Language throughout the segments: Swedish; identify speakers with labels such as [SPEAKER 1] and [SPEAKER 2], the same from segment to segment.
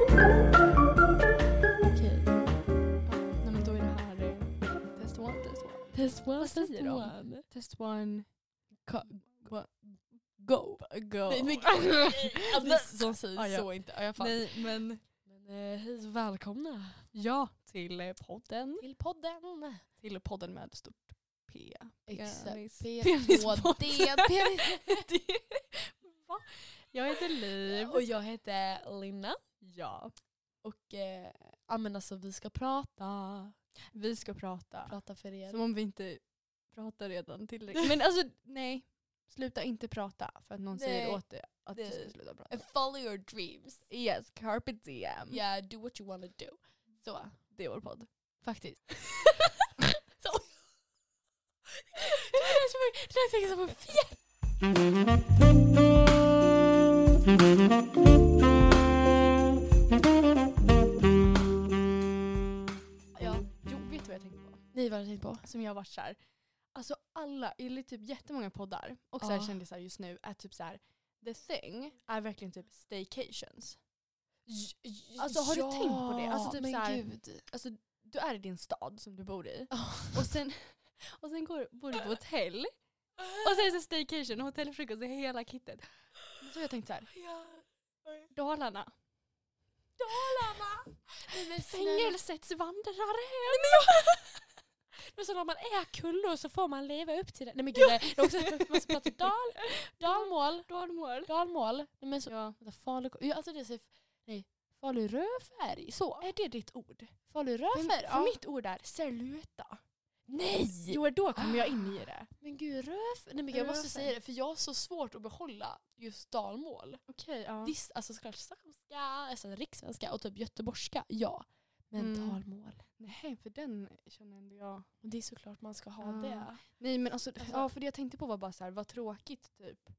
[SPEAKER 1] eh,
[SPEAKER 2] Test one,
[SPEAKER 1] Vad
[SPEAKER 2] test
[SPEAKER 1] säger de?
[SPEAKER 2] one.
[SPEAKER 1] Test one.
[SPEAKER 2] Go.
[SPEAKER 1] Mm. Go.
[SPEAKER 2] Nej, alltså, men gud. Alice som säger
[SPEAKER 1] Ah, ja.
[SPEAKER 2] så inte. Ja, jag fattar.
[SPEAKER 1] Nej men
[SPEAKER 2] Men, eh, hej och välkomna
[SPEAKER 1] ja till eh, podden.
[SPEAKER 2] till podden.
[SPEAKER 1] Till podden med stort P. Penis. Penispodd.
[SPEAKER 2] XP2D.
[SPEAKER 1] Va? Jag heter Liv.
[SPEAKER 2] Eh, Och jag heter Linna.
[SPEAKER 1] Ja.
[SPEAKER 2] Och eh, ja, men alltså, vi ska prata.
[SPEAKER 1] Vi ska prata.
[SPEAKER 2] Prata för er.
[SPEAKER 1] Som om vi inte pratar redan tillräckligt. Men alltså nej. Sluta inte prata för att någon
[SPEAKER 2] Nej.
[SPEAKER 1] säger åt dig att du
[SPEAKER 2] Nej.
[SPEAKER 1] ska sluta prata.
[SPEAKER 2] And follow your dreams.
[SPEAKER 1] Yes, carpe diem.
[SPEAKER 2] Yeah, do what you wanna do. Så,
[SPEAKER 1] Det är vår podd.
[SPEAKER 2] faktiskt. så. Det lät som en- det lät säkert som en fjäll.
[SPEAKER 1] Ja. Jo, vet du vad jag tänkte på?
[SPEAKER 2] Nej, vad har du tänkt på?
[SPEAKER 1] som jag har varit så här, alltså alla, eller typ jättemånga poddar och så här
[SPEAKER 2] Ja.
[SPEAKER 1] kändisar just nu är typ så här, the thing är verkligen typ staycations. Alltså, har du tänkt på det? Alltså, typ
[SPEAKER 2] men
[SPEAKER 1] så här-
[SPEAKER 2] gud.
[SPEAKER 1] Alltså du är i din stad som du bor i och sen, och sen går, bor du på hotell och sen är det staycation och hotellfrukost och hela kittet. Så jag tänkte så här,
[SPEAKER 2] Ja.
[SPEAKER 1] Dalarna.
[SPEAKER 2] Dalarna! Nej, men snälla.
[SPEAKER 1] Fängelsets vandrarhem.
[SPEAKER 2] Men så har man äkullor och så får man leva upp till det. Nej men gud, det det är också, man ska prata dal, dalmål,
[SPEAKER 1] Dalmål.
[SPEAKER 2] dalmål. Nej men så,
[SPEAKER 1] Ja.
[SPEAKER 2] vänta, falu, ja, alltså det är så, nej, falurödfärg, så.
[SPEAKER 1] Är det ditt ord? För,
[SPEAKER 2] Falurödfärg,
[SPEAKER 1] för
[SPEAKER 2] ja.
[SPEAKER 1] mitt ord är serluta.
[SPEAKER 2] Nej!
[SPEAKER 1] Jo, då kommer jag in i det.
[SPEAKER 2] Men gud, rödfärg. Nej men jag måste
[SPEAKER 1] Rödfärg.
[SPEAKER 2] säga det, för jag har så svårt att behålla just dalmål.
[SPEAKER 1] Okej, ja.
[SPEAKER 2] Visst, alltså såklart stockholmska, alltså rikssvenska och typ göteborgska, ja. Men
[SPEAKER 1] Mm.
[SPEAKER 2] dalmål.
[SPEAKER 1] Nej, för den känner ändå jag.
[SPEAKER 2] Och det är såklart man ska ha
[SPEAKER 1] Ja.
[SPEAKER 2] det.
[SPEAKER 1] Nej men alltså,
[SPEAKER 2] Alltså-
[SPEAKER 1] ja för det jag tänkte på var bara så här, vad tråkigt typ.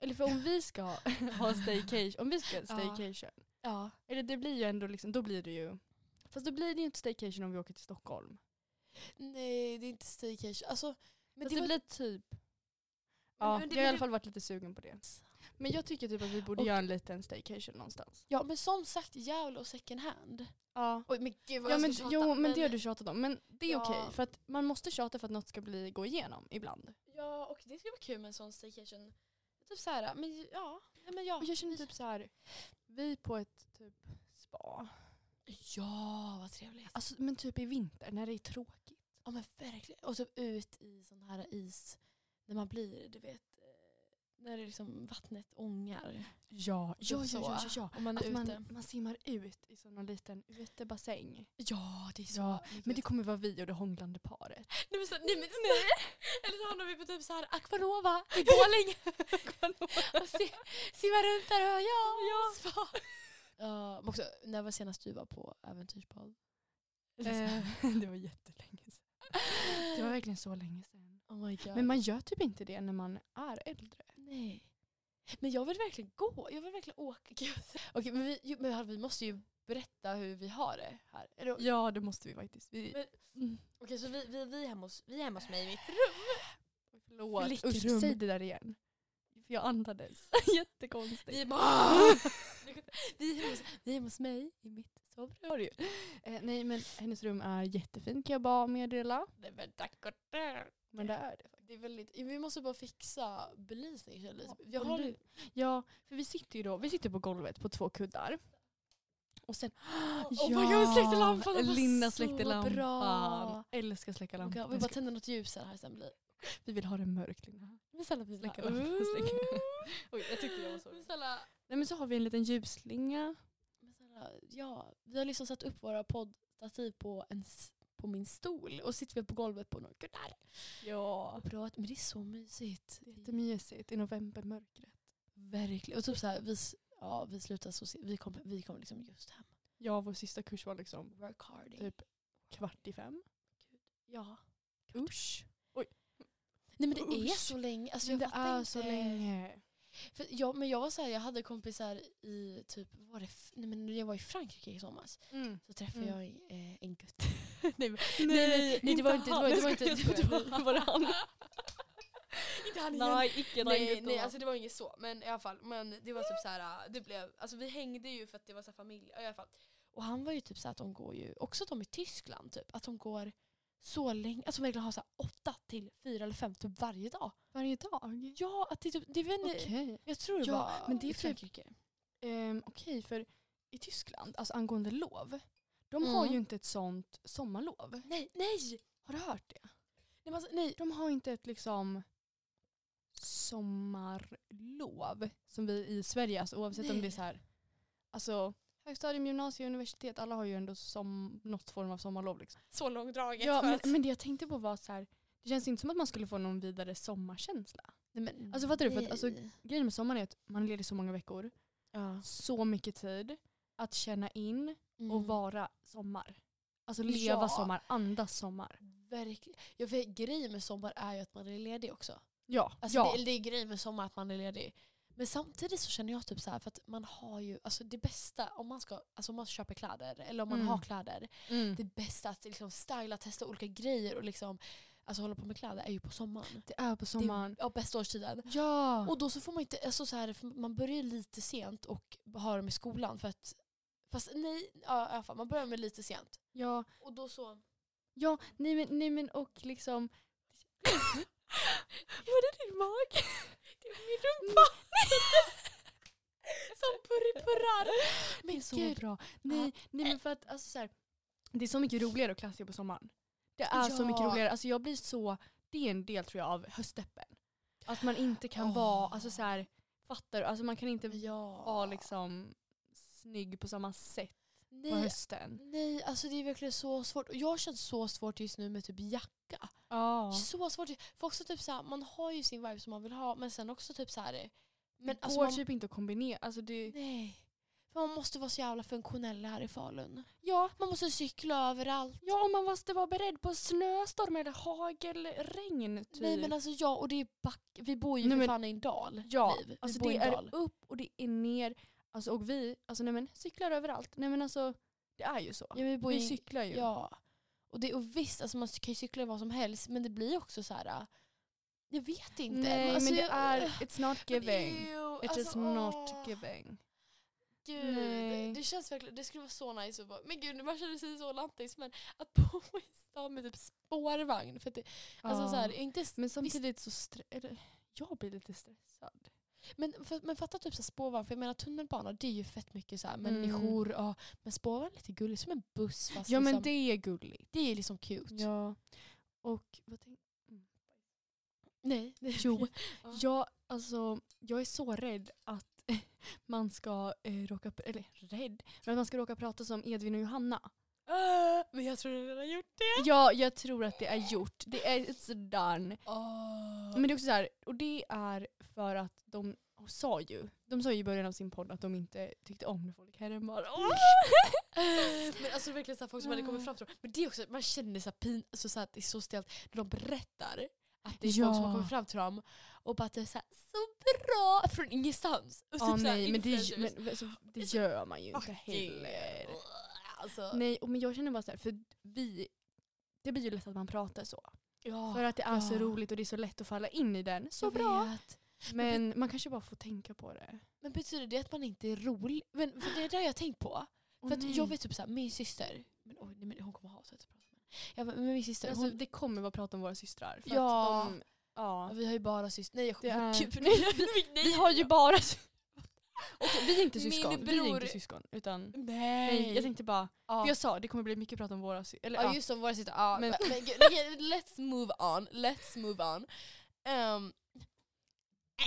[SPEAKER 1] Eller för om vi ska ha- ha staycation, om vi ska staycation,
[SPEAKER 2] Ja.
[SPEAKER 1] eller det blir ju ändå liksom, då blir det ju, fast då blir det ju inte staycation om vi åker till Stockholm.
[SPEAKER 2] Nej, det är inte staycation. Alltså, men
[SPEAKER 1] Men
[SPEAKER 2] det,
[SPEAKER 1] det,
[SPEAKER 2] var...
[SPEAKER 1] blir typ, ja,
[SPEAKER 2] men det-
[SPEAKER 1] jag har i
[SPEAKER 2] men
[SPEAKER 1] alla
[SPEAKER 2] det-
[SPEAKER 1] fall varit lite sugen på det. Men jag tycker typ att vi borde
[SPEAKER 2] Och-
[SPEAKER 1] göra en liten staycation någonstans.
[SPEAKER 2] Ja, men som sagt, Gävle och second hand.
[SPEAKER 1] Ja.
[SPEAKER 2] Oj, men gud
[SPEAKER 1] Ja, men, jo men det har du tjatat om, men det är
[SPEAKER 2] Ja.
[SPEAKER 1] okej för att man måste tjata för att något ska bli, gå igenom ibland.
[SPEAKER 2] Ja, och det skulle vara kul med en sån staycation. Typ så här, men ja. Nej, men ja.
[SPEAKER 1] Och jag känner typ så här, vi på ett typ spa,
[SPEAKER 2] ja, vad trevligt.
[SPEAKER 1] alltså, men typ i vinter när det är tråkigt.
[SPEAKER 2] Ja men verkligen. Och så ut i sån här is när man blir, du vet, eh, när det liksom vattnet ångar.
[SPEAKER 1] Ja, typ
[SPEAKER 2] Ja, ja, ja, ja,
[SPEAKER 1] ja.
[SPEAKER 2] Om man är
[SPEAKER 1] Att
[SPEAKER 2] ute.
[SPEAKER 1] man, man simmar ut i sån någon liten utebassäng.
[SPEAKER 2] Ja, det är så.
[SPEAKER 1] Ja, Men
[SPEAKER 2] men
[SPEAKER 1] det kommer vara vi och det hånglande paret.
[SPEAKER 2] nej men, så, nej, men nej. Eller så hamnar vi på typ så här Aquanova i Borlänge. Och si- simmar runt där och ja, ja. spa. Ja, men också, när var senast du var på äventyrsbad? Eh,
[SPEAKER 1] Eh, det var jättelänge sedan. Det var verkligen så länge sedan.
[SPEAKER 2] Oh my god.
[SPEAKER 1] Men man gör typ inte det när man är äldre.
[SPEAKER 2] Nej. Men jag vill verkligen gå. Jag vill verkligen åka. Gud. Okej, men, vi, jo, men vi måste ju berätta hur vi har det här. Eller,
[SPEAKER 1] Ja, det måste vi faktiskt. Vi,
[SPEAKER 2] Men-
[SPEAKER 1] mm.
[SPEAKER 2] Okej, så vi, vi, vi, är hemma hos, vi är hemma hos mig i mitt rum.
[SPEAKER 1] Förlåt.
[SPEAKER 2] Flickrum.
[SPEAKER 1] Usch, säg det där igen. För jag andades. Jättekonstigt.
[SPEAKER 2] är, vi, är hemma hos, vi är hemma hos mig i mitt sovrum.
[SPEAKER 1] Har du ju. Eh, nej, men hennes rum är jättefint kan jag bara meddela.
[SPEAKER 2] Nej men tack och tack.
[SPEAKER 1] Men det är det.
[SPEAKER 2] Det är väldigt, vi måste bara fixa belysning. känner jag lite.
[SPEAKER 1] Ja,
[SPEAKER 2] Vi
[SPEAKER 1] och
[SPEAKER 2] har
[SPEAKER 1] lu-
[SPEAKER 2] ju-
[SPEAKER 1] Ja, för vi sitter ju då, vi sitter på golvet på två kuddar. Och sen,
[SPEAKER 2] oh my god, vi släckte lampan, det var
[SPEAKER 1] Linda
[SPEAKER 2] så
[SPEAKER 1] släckte
[SPEAKER 2] bra.
[SPEAKER 1] lampan. Älskar släcka
[SPEAKER 2] Oh my
[SPEAKER 1] lampan.
[SPEAKER 2] God, vi bara tänder något ljus här, här sen blir.
[SPEAKER 1] vi vill ha det mörkt Linda.
[SPEAKER 2] Men snälla vi
[SPEAKER 1] Släcka lampan, släcka. Oj, jag tyckte jag var sorglig.
[SPEAKER 2] Men snälla,
[SPEAKER 1] Nej men så har vi en liten ljusslinga.
[SPEAKER 2] men snälla, ja, vi har liksom satt upp våra poddstativ på, en, s- på min stol och sitter vi på golvet på några kuddar.
[SPEAKER 1] Ja.
[SPEAKER 2] Och pratar, men det är så mysigt. Det är
[SPEAKER 1] Jättemysigt i novembermörkret.
[SPEAKER 2] Verkligen. Och typ så här, vi, s- ja, vi slutar så sent. Vi kom, vi kom liksom just hem.
[SPEAKER 1] Ja, vår sista kurs var liksom
[SPEAKER 2] Work hard.
[SPEAKER 1] typ kvart i fem.
[SPEAKER 2] Ja.
[SPEAKER 1] Usch.
[SPEAKER 2] Nej men det är
[SPEAKER 1] Usch.
[SPEAKER 2] så länge. Alltså,
[SPEAKER 1] Men
[SPEAKER 2] jag
[SPEAKER 1] det
[SPEAKER 2] fattar
[SPEAKER 1] är
[SPEAKER 2] inte.
[SPEAKER 1] så länge.
[SPEAKER 2] För jag, men jag var så här, jag hade kompisar i typ, vad var det, f- nej men när jag var i Frankrike i somras
[SPEAKER 1] Mm.
[SPEAKER 2] så träffade
[SPEAKER 1] Mm.
[SPEAKER 2] jag eh, en gutt. nej, men, nej, nej, nej det
[SPEAKER 1] inte
[SPEAKER 2] var inte, det
[SPEAKER 1] han.
[SPEAKER 2] var, det var
[SPEAKER 1] Jag
[SPEAKER 2] inte,
[SPEAKER 1] skojar,
[SPEAKER 2] det var,
[SPEAKER 1] jag
[SPEAKER 2] det
[SPEAKER 1] skojar.
[SPEAKER 2] var han. inte han igen.
[SPEAKER 1] Nej, icke den
[SPEAKER 2] Nej,
[SPEAKER 1] gutten.
[SPEAKER 2] nej alltså det var inget så. Men i alla fall, men det var typ så här, det blev, alltså vi hängde ju för att det var så här familj, i alla fall. Och han var ju typ så här att de går ju, också att de i Tyskland typ, att de går så länge. Alltså verkligen ha så här åtta till fyra eller fem typ varje dag.
[SPEAKER 1] Varje dag?
[SPEAKER 2] Ja, att det är typ, det vet ni,
[SPEAKER 1] Okej.
[SPEAKER 2] jag tror det
[SPEAKER 1] Ja,
[SPEAKER 2] var
[SPEAKER 1] men det är
[SPEAKER 2] i
[SPEAKER 1] typ-
[SPEAKER 2] Frankrike.
[SPEAKER 1] Ehm, Okej, för i Tyskland, alltså angående lov, de har
[SPEAKER 2] Mm.
[SPEAKER 1] ju inte ett sånt sommarlov.
[SPEAKER 2] Nej, nej!
[SPEAKER 1] Har du hört det?
[SPEAKER 2] Nej, men alltså, nej.
[SPEAKER 1] De har inte ett liksom sommarlov som vi i Sverige, alltså, oavsett om det är
[SPEAKER 2] Nej.
[SPEAKER 1] så här, alltså högstadium, gymnasium, universitet, alla har ju ändå som, något form av sommarlov. Liksom.
[SPEAKER 2] Så långdraget.
[SPEAKER 1] Ja,
[SPEAKER 2] för
[SPEAKER 1] men,
[SPEAKER 2] att-
[SPEAKER 1] men det jag tänkte på var så här, det känns inte som att man skulle få någon vidare sommarkänsla.
[SPEAKER 2] nej, men,
[SPEAKER 1] Alltså, fattar du? För att, alltså,
[SPEAKER 2] nej.
[SPEAKER 1] Grejen med sommaren är att man är ledig så många veckor,
[SPEAKER 2] ja.
[SPEAKER 1] så mycket tid att känna in och
[SPEAKER 2] Mm.
[SPEAKER 1] vara sommar. Alltså leva
[SPEAKER 2] Ja.
[SPEAKER 1] sommar, andas sommar.
[SPEAKER 2] Verkligen. Ja, för grejen med sommar är ju att man är ledig också.
[SPEAKER 1] Ja,
[SPEAKER 2] Alltså
[SPEAKER 1] ja.
[SPEAKER 2] det, det är grejen med sommar att man är ledig. Men samtidigt så känner jag typ så här för att man har ju, alltså det bästa om man ska, alltså om man köper kläder eller om man
[SPEAKER 1] Mm.
[SPEAKER 2] har kläder.
[SPEAKER 1] Mm.
[SPEAKER 2] Det bästa att liksom styla, testa olika grejer och liksom alltså hålla på med kläder är ju på sommaren.
[SPEAKER 1] det är på sommaren.
[SPEAKER 2] Ja, bästa årstiden.
[SPEAKER 1] Ja.
[SPEAKER 2] Och då så får man inte, alltså så här, för man börjar ju lite sent och har dem i skolan för att, fast nej, ja, i alla fall, man börjar med lite sent.
[SPEAKER 1] ja.
[SPEAKER 2] Och då så,
[SPEAKER 1] Ja, nej men, nej men och liksom... Var det din mag?
[SPEAKER 2] det är min rumpa!
[SPEAKER 1] Mm.
[SPEAKER 2] Som purripurrar.
[SPEAKER 1] Det är
[SPEAKER 2] Men
[SPEAKER 1] så
[SPEAKER 2] gud,
[SPEAKER 1] bra. Nej, nej men för att alltså så här, det är så mycket roligare att klassa på sommaren. Det är så
[SPEAKER 2] Ja.
[SPEAKER 1] mycket roligare. Alltså jag blir så, det är en del tror jag av höstdeppen. Att man inte kan
[SPEAKER 2] Åh.
[SPEAKER 1] vara, alltså så här, fattar du? Alltså man kan inte
[SPEAKER 2] Ja.
[SPEAKER 1] vara liksom snygg på samma sätt på
[SPEAKER 2] nej,
[SPEAKER 1] hösten.
[SPEAKER 2] nej, alltså det är verkligen så svårt. Och jag känner så svårt just nu med typ jacka.
[SPEAKER 1] Ja.
[SPEAKER 2] Så svårt. För också typ såhär, man har ju sin vibe som man vill ha men sen också typ såhär. Men
[SPEAKER 1] Men det
[SPEAKER 2] alltså
[SPEAKER 1] går
[SPEAKER 2] man,
[SPEAKER 1] typ inte att kombinera. Alltså det,
[SPEAKER 2] nej. För man måste vara så jävla funktionell här i Falun.
[SPEAKER 1] ja,
[SPEAKER 2] Man måste cykla överallt.
[SPEAKER 1] ja, och man måste vara beredd på snöstorm eller hagelregn. Typ.
[SPEAKER 2] Nej men alltså ja, och det är back, vi bor ju
[SPEAKER 1] Nej,
[SPEAKER 2] för
[SPEAKER 1] men-
[SPEAKER 2] fan i en dal.
[SPEAKER 1] Ja,
[SPEAKER 2] liv. Vi
[SPEAKER 1] alltså
[SPEAKER 2] bor i
[SPEAKER 1] det
[SPEAKER 2] en
[SPEAKER 1] är
[SPEAKER 2] dal.
[SPEAKER 1] upp och det är ner. Alltså, och vi alltså, nej, men, cyklar överallt. Nej men alltså, det är ju så.
[SPEAKER 2] Ja, men vi bor
[SPEAKER 1] vi
[SPEAKER 2] ju, i-
[SPEAKER 1] cyklar ju.
[SPEAKER 2] Ja. Och, det, och visst, alltså man kan ju cykla vad som helst men det blir också så här. äh, Jag vet inte.
[SPEAKER 1] Nej
[SPEAKER 2] alltså,
[SPEAKER 1] men det
[SPEAKER 2] jag-
[SPEAKER 1] är, it's not
[SPEAKER 2] Men
[SPEAKER 1] giving.
[SPEAKER 2] ew,
[SPEAKER 1] It is
[SPEAKER 2] alltså, åh,
[SPEAKER 1] not giving.
[SPEAKER 2] Gud,
[SPEAKER 1] Nej.
[SPEAKER 2] det känns verkligen, det skulle vara så nice att bara, men gud man känner sig så lantis men att bo i en stad med typ spårvagn för att det, alltså
[SPEAKER 1] Ja.
[SPEAKER 2] så här, inte, s-
[SPEAKER 1] men samtidigt så stre- eller, jag blir lite stressad.
[SPEAKER 2] men, för, men fatta typ så här spårvagn, för jag menar tunnelbana det är ju fett mycket så här,
[SPEAKER 1] Mm.
[SPEAKER 2] människor och, men spårvagn är lite gulligt, som en buss fast
[SPEAKER 1] Ja men
[SPEAKER 2] liksom,
[SPEAKER 1] det är gulligt.
[SPEAKER 2] det är liksom cute.
[SPEAKER 1] Ja. Och vad tänk-
[SPEAKER 2] Nej.
[SPEAKER 1] Jo,
[SPEAKER 2] Ja.
[SPEAKER 1] jag, alltså, jag är så rädd att man ska eh, råka, pr- eller rädd, men att man ska råka prata som Edvin och Johanna.
[SPEAKER 2] Äh, men jag tror du redan gjort det.
[SPEAKER 1] Ja, jag tror att det är gjort. Det är it's done. Men
[SPEAKER 2] Men,
[SPEAKER 1] det är också så här, och det är för att de sa ju, de sa ju i början av sin podd att de inte tyckte om när folk härmar. Åh!
[SPEAKER 2] men alltså verkligen så här, folk som hade kommit fram till dem. Men det är också, man känner så här pin, alltså så här, att det är så stelt när de berättar att det är folk som har
[SPEAKER 1] Ja.
[SPEAKER 2] kommit fram till dem och bara att det är så, här, så bra från ingenstans. Och typ
[SPEAKER 1] Ja
[SPEAKER 2] så här,
[SPEAKER 1] nej men det,
[SPEAKER 2] influencers.
[SPEAKER 1] men, alltså, det gör man ju inte heller.
[SPEAKER 2] Alltså,
[SPEAKER 1] Nej och men jag känner bara så här, för vi, det blir ju lätt att man pratar så.
[SPEAKER 2] ja,
[SPEAKER 1] För att det är så
[SPEAKER 2] ja.
[SPEAKER 1] roligt och det är så lätt att falla in i den. Så
[SPEAKER 2] jag
[SPEAKER 1] bra.
[SPEAKER 2] vet.
[SPEAKER 1] Men man kanske bara får tänka på det.
[SPEAKER 2] Men betyder det att man inte är rolig? Men, för det är det jag har tänkt på. För att jag vet typ såhär, min syster, men, oj, nej, men hon kommer hata att jag pratar med henne. Jag bara, men min syster,
[SPEAKER 1] alltså,
[SPEAKER 2] hon,
[SPEAKER 1] det kommer vara prat om våra systrar. För
[SPEAKER 2] Ja.
[SPEAKER 1] Att de, ja.
[SPEAKER 2] Ja, vi har ju bara syster. Nej jag
[SPEAKER 1] Det är-
[SPEAKER 2] Gud, nej,
[SPEAKER 1] Vi har ju bara... Okej, vi är inte
[SPEAKER 2] Min
[SPEAKER 1] syskon. Vi är
[SPEAKER 2] bror-
[SPEAKER 1] inte syskon. Utan,
[SPEAKER 2] Nej.
[SPEAKER 1] nej, jag tänkte bara,
[SPEAKER 2] ja.
[SPEAKER 1] för jag sa det kommer bli mycket prat om våra systrar. Eller,
[SPEAKER 2] ja
[SPEAKER 1] ja,
[SPEAKER 2] just som våra syster. Ja,
[SPEAKER 1] Men-
[SPEAKER 2] men, men, gud, okej, let's move on. Let's move on. Um,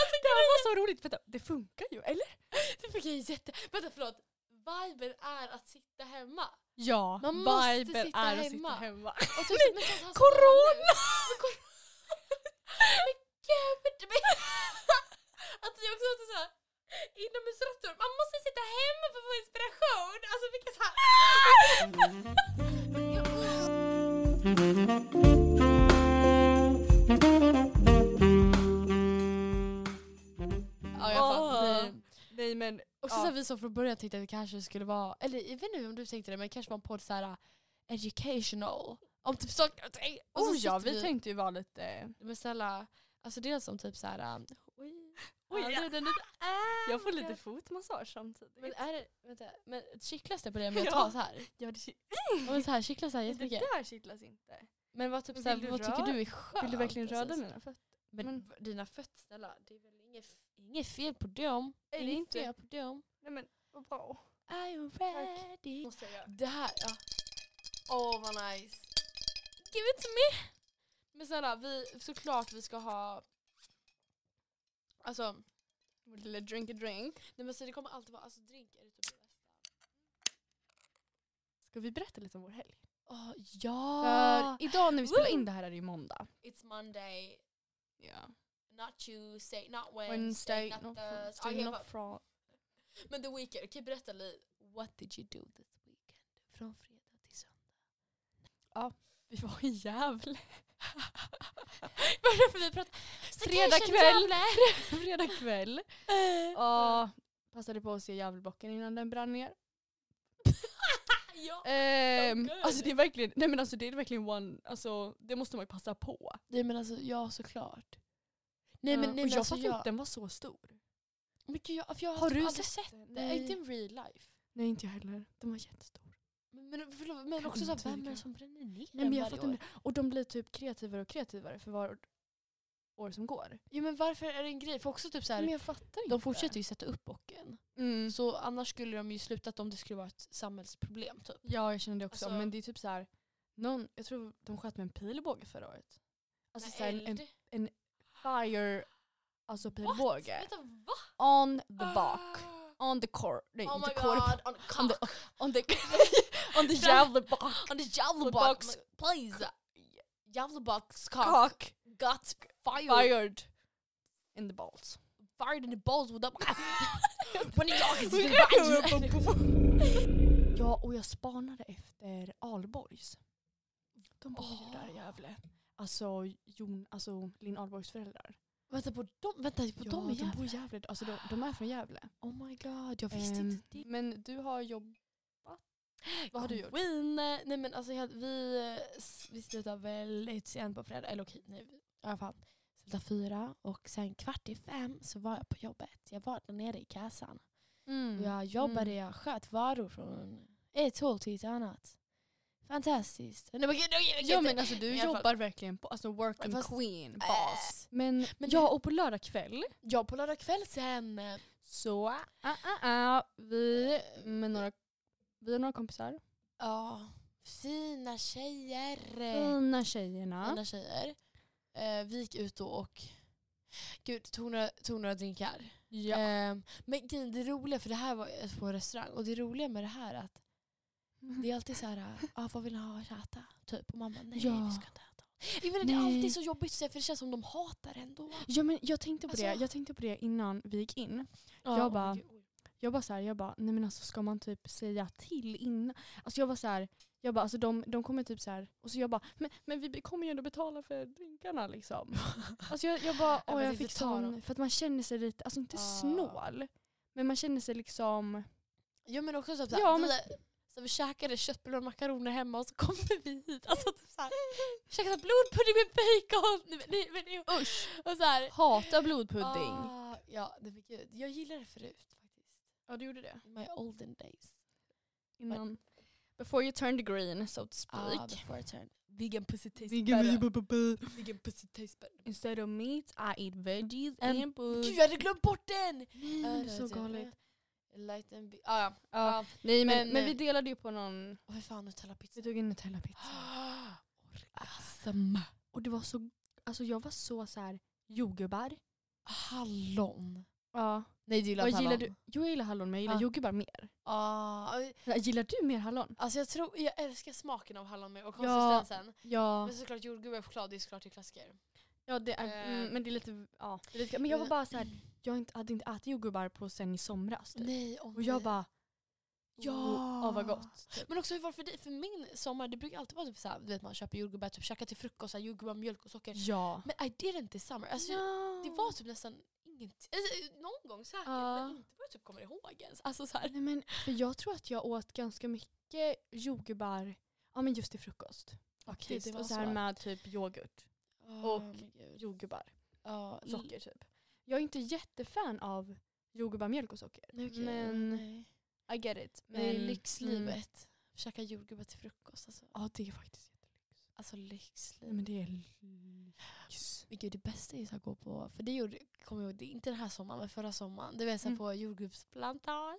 [SPEAKER 2] alltså
[SPEAKER 1] Det här var så roligt, vänta, det funkar ju, eller?
[SPEAKER 2] det fick jag jätte... Vänta förlåt. Viben är att sitta hemma.
[SPEAKER 1] Ja,
[SPEAKER 2] Man måste
[SPEAKER 1] viben
[SPEAKER 2] sitta
[SPEAKER 1] är att
[SPEAKER 2] hemma.
[SPEAKER 1] sitta hemma.
[SPEAKER 2] Och typ, men, så- så- så-
[SPEAKER 1] Corona!
[SPEAKER 2] Men kor- Men gud! Men, att vi också åt så här inomhusråttor. Man måste sitta hemma för att få inspiration. Alltså vilka så här... Ja, jag fattar.
[SPEAKER 1] Åh. Nej men,
[SPEAKER 2] Och så,
[SPEAKER 1] Ja.
[SPEAKER 2] så här, vi som från början tänkte att det kanske skulle vara, eller jag vet inte om du tänkte det, men kanske var en podd så här educational. Om typ saker och ting. Och så
[SPEAKER 1] oh ja,
[SPEAKER 2] sitter
[SPEAKER 1] vi tänkte ju vara lite...
[SPEAKER 2] Men snälla, alltså dels som typ så här... um, Ja,
[SPEAKER 1] Oj,
[SPEAKER 2] det
[SPEAKER 1] Oh ja.
[SPEAKER 2] är den lite-
[SPEAKER 1] Jag får
[SPEAKER 2] men
[SPEAKER 1] lite
[SPEAKER 2] jag-
[SPEAKER 1] fotmassage samtidigt.
[SPEAKER 2] Men är det, vänta, men kittlas det på det med att
[SPEAKER 1] Ja.
[SPEAKER 2] ta så här?
[SPEAKER 1] ja, det, ki-
[SPEAKER 2] Ja, men så här kittlas det här
[SPEAKER 1] det
[SPEAKER 2] jättemycket.
[SPEAKER 1] där kittlas inte.
[SPEAKER 2] Men vad, typ,
[SPEAKER 1] Men
[SPEAKER 2] så här,
[SPEAKER 1] vill du
[SPEAKER 2] vad tycker
[SPEAKER 1] röra-
[SPEAKER 2] du är skönt?
[SPEAKER 1] Vill du verkligen
[SPEAKER 2] alltså,
[SPEAKER 1] röra
[SPEAKER 2] så-
[SPEAKER 1] mina fötter?
[SPEAKER 2] Men,
[SPEAKER 1] Men-
[SPEAKER 2] v- dina fötter, snälla. Det är väl inget, f- inget fel på dem?
[SPEAKER 1] Är det
[SPEAKER 2] inget
[SPEAKER 1] inte?
[SPEAKER 2] fel på dem?
[SPEAKER 1] Nej men vad bra.
[SPEAKER 2] Are you ready?
[SPEAKER 1] Måste jag göra.
[SPEAKER 2] Det här, ja. Åh vad nice. Give it to me. Men snälla, vi, såklart vi ska ha... Alltså,
[SPEAKER 1] Vår lilla drink a drink.
[SPEAKER 2] nej men så det kommer alltid vara, alltså drink är det typ det bästa.
[SPEAKER 1] Ska vi berätta lite om vår helg?
[SPEAKER 2] Åh ja!
[SPEAKER 1] För idag när vi spelar
[SPEAKER 2] Ah. Woo!
[SPEAKER 1] in det här är det ju måndag.
[SPEAKER 2] It's Monday,
[SPEAKER 1] Ja.
[SPEAKER 2] not Tuesday, not Wednesday, eh,
[SPEAKER 1] Wednesday,
[SPEAKER 2] not
[SPEAKER 1] no,
[SPEAKER 2] Thursday.
[SPEAKER 1] Thursday,
[SPEAKER 2] Okej,
[SPEAKER 1] no
[SPEAKER 2] vad-
[SPEAKER 1] Friday.
[SPEAKER 2] Men the weekend, kan berätta lite. What did you do this weekend? Från fredag till söndag.
[SPEAKER 1] Vi var i Gävle.
[SPEAKER 2] Vad är det för vi pratar?
[SPEAKER 1] Fredag kväll. Fredag kväll.
[SPEAKER 2] Ja.
[SPEAKER 1] Ja, Ah, passade på att se Gävlebocken innan den brann ner.
[SPEAKER 2] ja.
[SPEAKER 1] Ehm,
[SPEAKER 2] good.
[SPEAKER 1] alltså det är verkligen, nej men alltså det är verkligen one, alltså det måste man ju passa på.
[SPEAKER 2] Nej men alltså, ja såklart. Nej
[SPEAKER 1] Ja,
[SPEAKER 2] men, nej,
[SPEAKER 1] och
[SPEAKER 2] men
[SPEAKER 1] jag
[SPEAKER 2] alltså,
[SPEAKER 1] fattar inte att
[SPEAKER 2] jag...
[SPEAKER 1] den var så stor.
[SPEAKER 2] Men gud, jag, för jag har,
[SPEAKER 1] Har
[SPEAKER 2] typ
[SPEAKER 1] du
[SPEAKER 2] aldrig
[SPEAKER 1] sett
[SPEAKER 2] sett
[SPEAKER 1] den?
[SPEAKER 2] det. Inte in real life.
[SPEAKER 1] nej inte jag heller. Den var jättestor.
[SPEAKER 2] Men, men, förlåt, men
[SPEAKER 1] Kanske
[SPEAKER 2] också såhär,
[SPEAKER 1] inte
[SPEAKER 2] vem är det
[SPEAKER 1] riktigt.
[SPEAKER 2] som bränner ner
[SPEAKER 1] Nej,
[SPEAKER 2] den
[SPEAKER 1] men jag
[SPEAKER 2] varje
[SPEAKER 1] fattar
[SPEAKER 2] år?
[SPEAKER 1] inte. Och de blir typ kreativare och kreativare för var år som går.
[SPEAKER 2] Jo men varför är det en grej? För också typ såhär,
[SPEAKER 1] Men jag fattar inte.
[SPEAKER 2] de fortsätter ju sätta upp bocken.
[SPEAKER 1] Mm.
[SPEAKER 2] Så annars skulle de ju slutat om det skulle vara ett samhällsproblem typ.
[SPEAKER 1] Ja jag känner det också.
[SPEAKER 2] Alltså-
[SPEAKER 1] men det är typ så här, någon, jag tror de sköt med en pilbåge förra året. Alltså så här, en, en fire, alltså pilbåge.
[SPEAKER 2] Vänta, va?
[SPEAKER 1] On the back. On the core. Nej
[SPEAKER 2] Ah. Oh
[SPEAKER 1] inte
[SPEAKER 2] my
[SPEAKER 1] core.
[SPEAKER 2] god, on
[SPEAKER 1] On the,
[SPEAKER 2] cock,
[SPEAKER 1] on the, on the Gävlebock.
[SPEAKER 2] on the
[SPEAKER 1] The
[SPEAKER 2] Javla
[SPEAKER 1] box,
[SPEAKER 2] box, please. Javla box cock
[SPEAKER 1] Cock.
[SPEAKER 2] got fired,
[SPEAKER 1] Fired. In the balls.
[SPEAKER 2] fired in the balls with a... When the dog is
[SPEAKER 1] ja, och jag spanade efter Alborgs. De bor ju där i Gävle. Alltså, Jon, alltså Linn Alborgs föräldrar.
[SPEAKER 2] Vänta på dem, vänta på
[SPEAKER 1] ja,
[SPEAKER 2] dem igen.
[SPEAKER 1] de bor i Gävle. Alltså, de, de är från Gävle.
[SPEAKER 2] Oh my god, jag
[SPEAKER 1] Ehm, Men du har jobbat. Vad har du gjort?
[SPEAKER 2] Queen, eh, nej men alltså jag, vi, eh, s- vi slutar väldigt sent på fredag, eller okej nej, vi- ja fan. Slutar fyra och sen kvart i fem så var jag på jobbet. Jag var där nere i kassan. Och Jag jobbade,
[SPEAKER 1] Mm.
[SPEAKER 2] jag sköt varor från ett håll till ett annat. Fantastiskt. Nej, men, gud, jag, jag,
[SPEAKER 1] Ja men alltså du
[SPEAKER 2] I alla fall.
[SPEAKER 1] jobbar verkligen på, alltså working
[SPEAKER 2] Fast-
[SPEAKER 1] queen,
[SPEAKER 2] Äh.
[SPEAKER 1] boss. Men,
[SPEAKER 2] Men
[SPEAKER 1] ja och på lördag kväll
[SPEAKER 2] jag på lördag kväll sen. eh,
[SPEAKER 1] så, ah, ah, ah, vi med några, vi och några kompisar,
[SPEAKER 2] Ja, fina tjejer.
[SPEAKER 1] Eh. fina tjejerna.
[SPEAKER 2] Fina tjejer. Eh, vi gick ut då och gud, tog, några, tog några drinkar.
[SPEAKER 1] Ja.
[SPEAKER 2] Eh, men grejen, det roliga, för det här var eh, på en restaurang, och det roliga med det här är att det
[SPEAKER 1] Mm.
[SPEAKER 2] är alltid så här, ah, vad vill ni ha att äta? Typ. Och man bara, nej
[SPEAKER 1] Ja.
[SPEAKER 2] vi ska inte äta. Jag vet, inte, det är
[SPEAKER 1] Nej.
[SPEAKER 2] alltid så jobbigt att säga för det känns som de hatar ändå.
[SPEAKER 1] ja men jag tänkte på det,
[SPEAKER 2] Alltså-
[SPEAKER 1] jag tänkte på det innan vi gick in.
[SPEAKER 2] Ja,
[SPEAKER 1] Jag
[SPEAKER 2] oh
[SPEAKER 1] bara-
[SPEAKER 2] my God.
[SPEAKER 1] Jag bara såhär, jag bara, nej men alltså ska man typ säga till innan? Alltså jag var såhär, jag bara alltså de, de kommer typ såhär, och så jag bara, men, men vi kommer ju ändå betala för drinkarna liksom. alltså jag, jag bara,
[SPEAKER 2] men
[SPEAKER 1] åh jag
[SPEAKER 2] inte
[SPEAKER 1] fick
[SPEAKER 2] ta dem.
[SPEAKER 1] sån, för att man känner sig lite, alltså inte
[SPEAKER 2] Ja.
[SPEAKER 1] snål, men man känner sig liksom,
[SPEAKER 2] Ja men också typ såhär,
[SPEAKER 1] Ja,
[SPEAKER 2] vi,
[SPEAKER 1] men-
[SPEAKER 2] så vi käkade köttbullar och makaroner hemma och så kommer vi hit. Alltså typ såhär, käkade blodpudding med bacon. Nej, men- nej, men det-
[SPEAKER 1] usch,
[SPEAKER 2] Och såhär.
[SPEAKER 1] hatar blodpudding.
[SPEAKER 2] Ah, ja, det men gud. Jag gillade det förut faktiskt.
[SPEAKER 1] Ja du gjorde det.
[SPEAKER 2] In my olden days.
[SPEAKER 1] Innan, before you turn the green so to speak.
[SPEAKER 2] Ah, before I turned. Vegan pussy tastes better.
[SPEAKER 1] Ah,
[SPEAKER 2] Vegan pussy tastes better.
[SPEAKER 1] Instead of meat I eat veggies
[SPEAKER 2] And-
[SPEAKER 1] and, and puss.
[SPEAKER 2] Gud jag hade glömt bort den! Ah,
[SPEAKER 1] Nej, det är så galet.
[SPEAKER 2] Light and be- ah, ja.
[SPEAKER 1] Ja,
[SPEAKER 2] Ja.
[SPEAKER 1] Nej men,
[SPEAKER 2] Men,
[SPEAKER 1] men
[SPEAKER 2] eh,
[SPEAKER 1] vi delade ju på någon,
[SPEAKER 2] Och hur fan Nutella pizza?
[SPEAKER 1] vi tog en Nutella-pizza.
[SPEAKER 2] Ah, Orgasm.
[SPEAKER 1] Och det var så, alltså jag var så så här jordgubbar.
[SPEAKER 2] Hallon.
[SPEAKER 1] Ja.
[SPEAKER 2] Nej du gillar
[SPEAKER 1] Vad
[SPEAKER 2] inte
[SPEAKER 1] gillar
[SPEAKER 2] hallon.
[SPEAKER 1] du? Jo jag gillar hallon men jag gillar
[SPEAKER 2] Ja.
[SPEAKER 1] jordgubbar mer.
[SPEAKER 2] Ah,
[SPEAKER 1] Gillar du mer hallon?
[SPEAKER 2] Alltså jag, tror, jag älskar smaken av hallonmjöl och konsistensen.
[SPEAKER 1] Ja.
[SPEAKER 2] Men såklart jordgubbar och choklad det är såklart det är klassiker.
[SPEAKER 1] ja det är,
[SPEAKER 2] Eh.
[SPEAKER 1] mm, men det är lite, ja. Det är lite, men jag var bara så här, jag inte, hade inte ätit jordgubbar på sen i somras typ.
[SPEAKER 2] Nej, oh
[SPEAKER 1] Och jag bara,
[SPEAKER 2] Ja.
[SPEAKER 1] oh, vad gott. Typ.
[SPEAKER 2] Men också hur var det för dig? För min sommar det brukar alltid vara typ såhär, du vet man köper jordgubbar, typ käkar till frukost, såhär, jordgubbar, mjölk och socker.
[SPEAKER 1] Ja.
[SPEAKER 2] Men I didn't this summer. Alltså,
[SPEAKER 1] no.
[SPEAKER 2] Det var typ nästan ingenting. Alltså, någon gång säkert
[SPEAKER 1] Ja.
[SPEAKER 2] men inte vad jag typ kommer ihåg ens. Alltså såhär.
[SPEAKER 1] Nej, men, för jag tror att jag åt ganska mycket jordgubbar, ja men just till frukost.
[SPEAKER 2] Okej,
[SPEAKER 1] och så här med typ yoghurt,
[SPEAKER 2] Åh,
[SPEAKER 1] och
[SPEAKER 2] men gud.
[SPEAKER 1] jordgubbar,
[SPEAKER 2] Ja, l-
[SPEAKER 1] socker typ. Jag är inte jättefan av jordgubbar, mjölk och socker.
[SPEAKER 2] Okej,
[SPEAKER 1] Men-
[SPEAKER 2] nej.
[SPEAKER 1] I get it.
[SPEAKER 2] Men det är
[SPEAKER 1] men- mm.
[SPEAKER 2] lyxlivet. Käka jordgubbar till frukost. Alltså,
[SPEAKER 1] Ja det är faktiskt jättelyx.
[SPEAKER 2] alltså lyxliv.
[SPEAKER 1] Nej, men det är lyx.
[SPEAKER 2] Men gud, det bästa är ju så att gå på, för det gjorde, kommer jag ihåg, det är inte den här sommaren men förra sommaren. Du vet så här
[SPEAKER 1] Mm.
[SPEAKER 2] på jordgubbsplantage.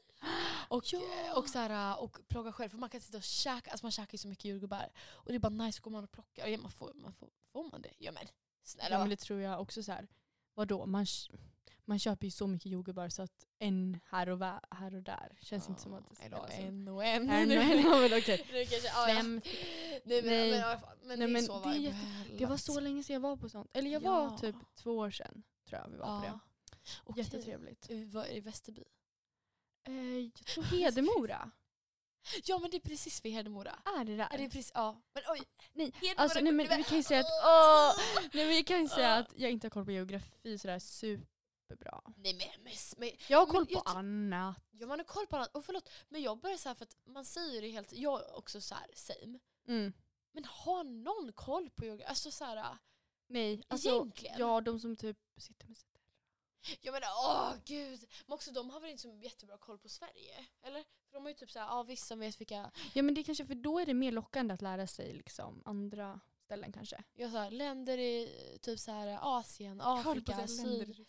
[SPEAKER 2] Och,
[SPEAKER 1] Ja.
[SPEAKER 2] och, så här, och plocka själv, för man kan sitta och käka, alltså man käkar ju så mycket jordgubbar. Och det är bara nice, så går man och plockar. Och ja, man får, man får, får man det? Ja men snälla
[SPEAKER 1] Ja, men
[SPEAKER 2] va?
[SPEAKER 1] det tror jag också så här. Vadå, man, k- man köper ju så mycket jordgubbar så att en här och, va- här och där känns inte som att det
[SPEAKER 2] Nej,
[SPEAKER 1] är
[SPEAKER 2] då,
[SPEAKER 1] bra. Alltså.
[SPEAKER 2] En och en.
[SPEAKER 1] En och en, ja, men okej.
[SPEAKER 2] Nu kanske, ja, ja.
[SPEAKER 1] Fem.
[SPEAKER 2] Nej men,
[SPEAKER 1] Nej.
[SPEAKER 2] men, ja, fan, men
[SPEAKER 1] Nej,
[SPEAKER 2] det är
[SPEAKER 1] men
[SPEAKER 2] så
[SPEAKER 1] det är
[SPEAKER 2] varmt.
[SPEAKER 1] Det var så länge sedan jag var på sånt. Eller jag
[SPEAKER 2] Ja.
[SPEAKER 1] var typ två år sedan tror jag vi var
[SPEAKER 2] ja.
[SPEAKER 1] på det.
[SPEAKER 2] Okej.
[SPEAKER 1] Jättetrevligt.
[SPEAKER 2] Eh, Vad är det, Västerby?
[SPEAKER 1] Eh, jag tror Hedemora
[SPEAKER 2] Ja men det är precis vid Hedemora.
[SPEAKER 1] är det där.
[SPEAKER 2] Är det precis, ja. Men oj,
[SPEAKER 1] Nej,
[SPEAKER 2] Hedemora
[SPEAKER 1] alltså, nej, men
[SPEAKER 2] kommer-
[SPEAKER 1] vi kan ju säga att-
[SPEAKER 2] Åh!
[SPEAKER 1] Nej, men jag kan ju säga att jag inte har koll på geografi sådär superbra.
[SPEAKER 2] Nej men, men, men
[SPEAKER 1] Jag har koll
[SPEAKER 2] Men jag
[SPEAKER 1] på
[SPEAKER 2] tr-
[SPEAKER 1] annat.
[SPEAKER 2] ja, man har koll på annat. Och förlåt, men jag börjar så här för att man säger det helt, jag är också så här same.
[SPEAKER 1] Mm.
[SPEAKER 2] Men har någon koll på yoga? Alltså så här,
[SPEAKER 1] Nej, alltså
[SPEAKER 2] egentligen?
[SPEAKER 1] ja, de som typ sitter med sitt.
[SPEAKER 2] Jag menar, åh gud. Men också de har väl inte så jättebra koll på Sverige? Eller? För de har ju typ såhär, ja vissa som vet vilka,
[SPEAKER 1] Ja men det är kanske för då är det mer lockande att lära sig liksom andra ställen kanske.
[SPEAKER 2] jag sa länder i typ så här Asien, Afrika, Syd.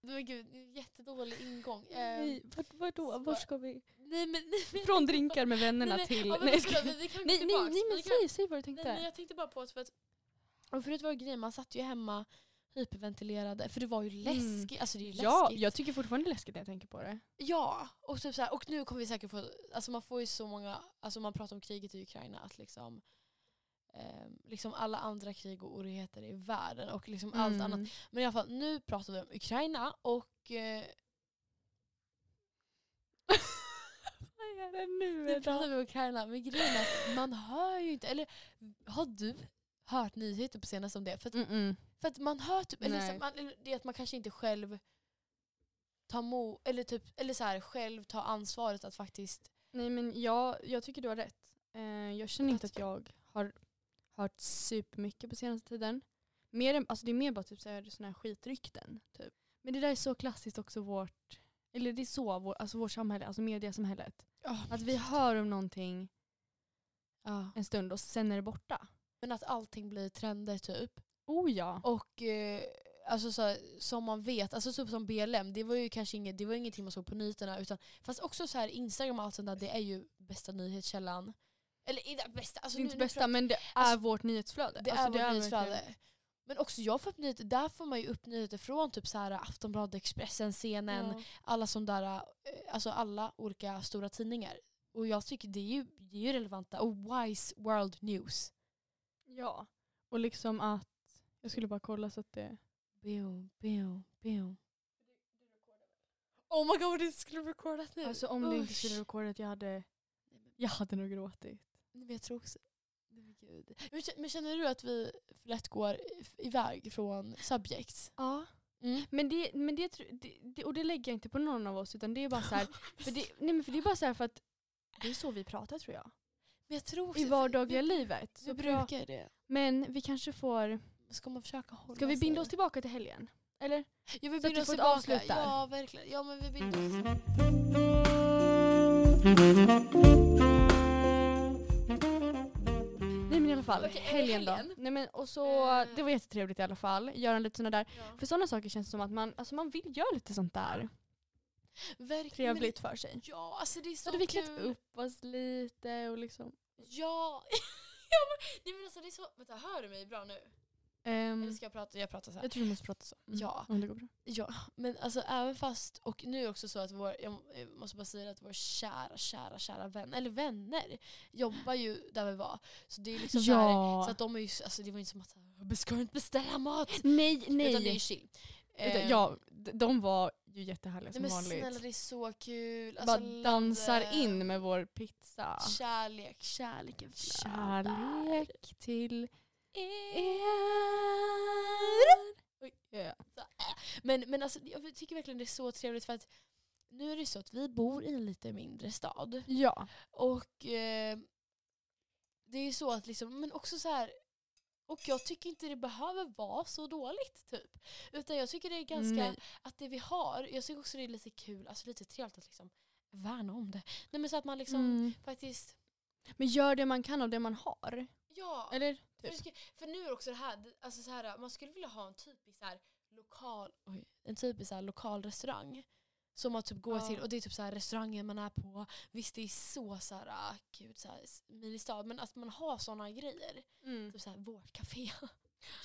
[SPEAKER 2] Men gud, det är en jättedålig ingång. Eh,
[SPEAKER 1] Nej, vad, vadå?
[SPEAKER 2] så-
[SPEAKER 1] Vart ska vi?
[SPEAKER 2] nej men, nej men.
[SPEAKER 1] Från drinkar med vännerna
[SPEAKER 2] nej,
[SPEAKER 1] till...
[SPEAKER 2] ja, men,
[SPEAKER 1] Nej, jag
[SPEAKER 2] förlåt,
[SPEAKER 1] ska...
[SPEAKER 2] vi,
[SPEAKER 1] nej,
[SPEAKER 2] vi kan gå
[SPEAKER 1] nej,
[SPEAKER 2] tillbaks.
[SPEAKER 1] nej
[SPEAKER 2] Vi
[SPEAKER 1] men
[SPEAKER 2] kan-
[SPEAKER 1] säg, säg vad du tänkte.
[SPEAKER 2] Nej, men jag tänkte bara på att, för att och förut var det grejen, man satt ju hemma hyperventilerade för det var ju läskigt. Alltså det är ju
[SPEAKER 1] ja,
[SPEAKER 2] läskigt.
[SPEAKER 1] jag tycker fortfarande det är läskigt när jag tänker på det.
[SPEAKER 2] Ja, och, typ så här, och nu kommer vi säkert få, alltså man får ju så många, alltså man pratar om kriget i Ukraina att liksom ehm, Liksom alla andra krig och oroligheter i världen och liksom allt
[SPEAKER 1] Mm.
[SPEAKER 2] annat. Men i alla fall, nu pratar vi om Ukraina och eh,
[SPEAKER 1] Vad är det nu
[SPEAKER 2] nu pratar
[SPEAKER 1] idag?
[SPEAKER 2] vi om Ukraina. Men grejen är att man hör ju inte, eller har du hört nyheter på senaste om det? För att
[SPEAKER 1] Mm, mm.
[SPEAKER 2] För att man hör typ, eller,
[SPEAKER 1] Nej.
[SPEAKER 2] så att man, eller det är att man kanske inte själv tar mo, eller, typ, eller så här, själv tar ansvaret att faktiskt...
[SPEAKER 1] Nej men jag, jag tycker du har rätt. Eh, jag känner inte att
[SPEAKER 2] Plats-
[SPEAKER 1] jag har hört supermycket på senaste tiden. Mer, än- alltså det är mer bara typ sådana här skitrykten. Typ. Men det där är så klassiskt också vårt, eller det är så vår, alltså vårt samhälle, alltså mediasamhället. Att vi hör om någonting
[SPEAKER 2] Ja.
[SPEAKER 1] en stund och sen är det borta.
[SPEAKER 2] Men att allting blir trender typ.
[SPEAKER 1] Oh ja.
[SPEAKER 2] Och eh, alltså, så här, som man vet, alltså typ som BLM, det var ju kanske inget, det var ingenting man såg på nyheterna. Utan, fast också så här Instagram och allt sånt där, det är ju bästa nyhetskällan. Eller inte bästa, alltså
[SPEAKER 1] det är inte
[SPEAKER 2] nu, nu
[SPEAKER 1] bästa men det är
[SPEAKER 2] alltså,
[SPEAKER 1] vårt nyhetsflöde.
[SPEAKER 2] Det
[SPEAKER 1] alltså,
[SPEAKER 2] är vårt nyhetsflöde.
[SPEAKER 1] verkligen-
[SPEAKER 2] Men också jag får upp nyheter, där får man ju upp nyheter från typ så här Aftonbladet, Expressen, CNN,
[SPEAKER 1] Ja.
[SPEAKER 2] alla sån där, eh, alltså alla olika stora tidningar. Och jag tycker det är ju, det är ju relevanta. Och Wise World News.
[SPEAKER 1] ja. Och liksom att, jag skulle bara kolla så att det...
[SPEAKER 2] Boom, boom, boom. Oh my god, det skulle recordat nu.
[SPEAKER 1] Alltså om det inte
[SPEAKER 2] Usch.
[SPEAKER 1] skulle rekordat, jag hade,
[SPEAKER 2] Nej, men-
[SPEAKER 1] jag hade nog gråtit.
[SPEAKER 2] Nej, men jag tror också... Nej, men gud. Men kä- Men känner du att vi för lätt går i- iväg från subjects?
[SPEAKER 1] Ja.
[SPEAKER 2] Mm.
[SPEAKER 1] Men det, men det, tr- det, det, och det lägger jag inte på någon av oss utan det är bara så här, för det, nej men för det är bara så här för att det är så vi pratar tror jag.
[SPEAKER 2] Men jag tror också-
[SPEAKER 1] I vardagliga livet.
[SPEAKER 2] Vi
[SPEAKER 1] Så bra.
[SPEAKER 2] brukar det.
[SPEAKER 1] Men vi kanske får,
[SPEAKER 2] Ska man försöka hålla
[SPEAKER 1] ska vi binda
[SPEAKER 2] sig?
[SPEAKER 1] oss tillbaka till helgen? Eller?
[SPEAKER 2] Ja, vi
[SPEAKER 1] Så att
[SPEAKER 2] binder
[SPEAKER 1] vi
[SPEAKER 2] oss
[SPEAKER 1] får ett
[SPEAKER 2] tillbaka.
[SPEAKER 1] avslut där.
[SPEAKER 2] Ja, verkligen. Ja, men vi binder oss.
[SPEAKER 1] Nej men i alla fall,
[SPEAKER 2] Okej, är det
[SPEAKER 1] helgen då.
[SPEAKER 2] helgen?
[SPEAKER 1] Nej, men, och så,
[SPEAKER 2] Eh.
[SPEAKER 1] det var jättetrevligt i alla fall, göra lite sådana där.
[SPEAKER 2] Ja.
[SPEAKER 1] För sådana saker känns det som att man, alltså man vill göra lite sånt där
[SPEAKER 2] Verkligen.
[SPEAKER 1] trevligt för sig.
[SPEAKER 2] Ja, alltså det är
[SPEAKER 1] Så
[SPEAKER 2] så
[SPEAKER 1] hade vi klätt
[SPEAKER 2] kul.
[SPEAKER 1] upp oss lite och liksom.
[SPEAKER 2] Ja. ja men, nej, men alltså det är så... Vänta, hör du mig bra nu?
[SPEAKER 1] Ehm,
[SPEAKER 2] Eller ska jag prata? Jag pratar så här.
[SPEAKER 1] jag tror vi måste prata så. Mm.
[SPEAKER 2] Ja.
[SPEAKER 1] Om det går bra.
[SPEAKER 2] Ja, men alltså även fast... Och nu är det också så att vår... Jag eh, måste bara säga att vår kära, kära, kära vän, eller vänner, jobbar ju där vi var. Så det är liksom så här... Så att de är ju... Alltså det var ju inte som att... så här, "Men Ska du inte beställa mat?
[SPEAKER 1] Nej, nej.
[SPEAKER 2] Utan det är ju chill.
[SPEAKER 1] Utan,
[SPEAKER 2] Eh,
[SPEAKER 1] ja, d- de var ju jättehärliga
[SPEAKER 2] nej,
[SPEAKER 1] som
[SPEAKER 2] men
[SPEAKER 1] vanligt.
[SPEAKER 2] snälla det är så kul.
[SPEAKER 1] Bara
[SPEAKER 2] Alltså,
[SPEAKER 1] dansar
[SPEAKER 2] Lande.
[SPEAKER 1] in med vår pizza.
[SPEAKER 2] Kärlek, kärleken flödar.
[SPEAKER 1] Kärlek till
[SPEAKER 2] er.
[SPEAKER 1] er.
[SPEAKER 2] Men, men alltså, jag tycker verkligen det är så trevligt för att nu är det så att vi bor i en lite mindre stad.
[SPEAKER 1] Ja.
[SPEAKER 2] Och eh, det är ju så att liksom, men också så här Och jag tycker inte det behöver vara så dåligt typ. Utan jag tycker det är ganska,
[SPEAKER 1] Nej.
[SPEAKER 2] att det vi har, jag tycker också det är lite kul, alltså lite trevligt att liksom värna om det. Nej men så att man liksom
[SPEAKER 1] Mm.
[SPEAKER 2] faktiskt,
[SPEAKER 1] Men gör det man kan av det man har.
[SPEAKER 2] ja.
[SPEAKER 1] Eller?
[SPEAKER 2] För,
[SPEAKER 1] Typ.
[SPEAKER 2] det ska- för nu är det också det här, det- alltså så här, man skulle vilja ha en typisk så här, lokal, oj, en typisk så här, lokal restaurang. Som man typ går
[SPEAKER 1] Ja.
[SPEAKER 2] till och det är typ så här restaurangen man är på. Visst det är så så här, ah, gud så här, s- milstad. Men att man har sådana grejer.
[SPEAKER 1] Mm.
[SPEAKER 2] Typ så här vårt café.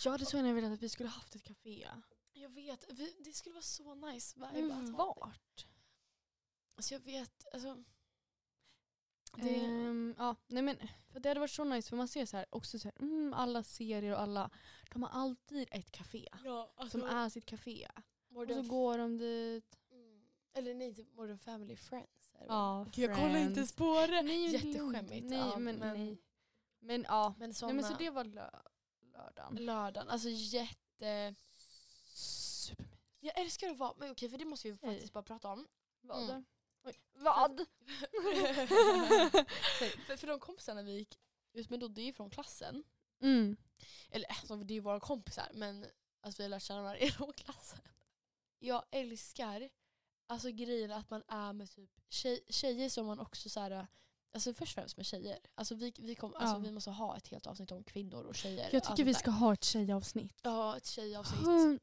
[SPEAKER 1] Jag hade så gärna velat att vi skulle haft ett café.
[SPEAKER 2] Jag vet, vi, det skulle vara så nice vibe att
[SPEAKER 1] Men
[SPEAKER 2] ha det.
[SPEAKER 1] vart?
[SPEAKER 2] Alltså jag vet, alltså. Eh, Det,
[SPEAKER 1] Det... Ehm, ja, nej men, för det hade varit så nice för man ser så här, också så här, mm, alla serier och alla, de har alltid ett café.
[SPEAKER 2] ja, alltså,
[SPEAKER 1] Som är sitt café. Och
[SPEAKER 2] Modern,
[SPEAKER 1] så går de dit.
[SPEAKER 2] mm, eller nej, typ Modern Family Friends. är det väl?
[SPEAKER 1] Ja,
[SPEAKER 2] jag kollar inte ens
[SPEAKER 1] på det. Nej,
[SPEAKER 2] Jätteskämmigt,
[SPEAKER 1] Nej,
[SPEAKER 2] ja,
[SPEAKER 1] men,
[SPEAKER 2] men-
[SPEAKER 1] nej. Men ja.
[SPEAKER 2] Men,
[SPEAKER 1] Nej, men så
[SPEAKER 2] såna-
[SPEAKER 1] det var lö- lördagen.
[SPEAKER 2] lördagen. Alltså jätte...
[SPEAKER 1] Supermysigt.
[SPEAKER 2] Jag älskar att vara... Men okej, för det måste vi
[SPEAKER 1] Hej.
[SPEAKER 2] faktiskt bara prata om.
[SPEAKER 1] Vad?
[SPEAKER 2] Mm.
[SPEAKER 1] Oj, vad?
[SPEAKER 2] för, för de kompisarna vi gick ut med då, det är ju från klassen.
[SPEAKER 1] Mm.
[SPEAKER 2] Eller alltså, det är ju våra kompisar, men alltså, vi har lärt känna varandra genom klassen. Jag älskar alltså, grejen att man är med typ tjej, tjejer som man också så här... Alltså först och främst med tjejer. Alltså vi, vi, kom, alltså,
[SPEAKER 1] Ja.
[SPEAKER 2] vi måste ha ett helt avsnitt om kvinnor och tjejer.
[SPEAKER 1] Jag
[SPEAKER 2] Alltså,
[SPEAKER 1] tycker vi
[SPEAKER 2] där.
[SPEAKER 1] ska ha ett tjejavsnitt.
[SPEAKER 2] Ja, ett tjejavsnitt.
[SPEAKER 1] Hun-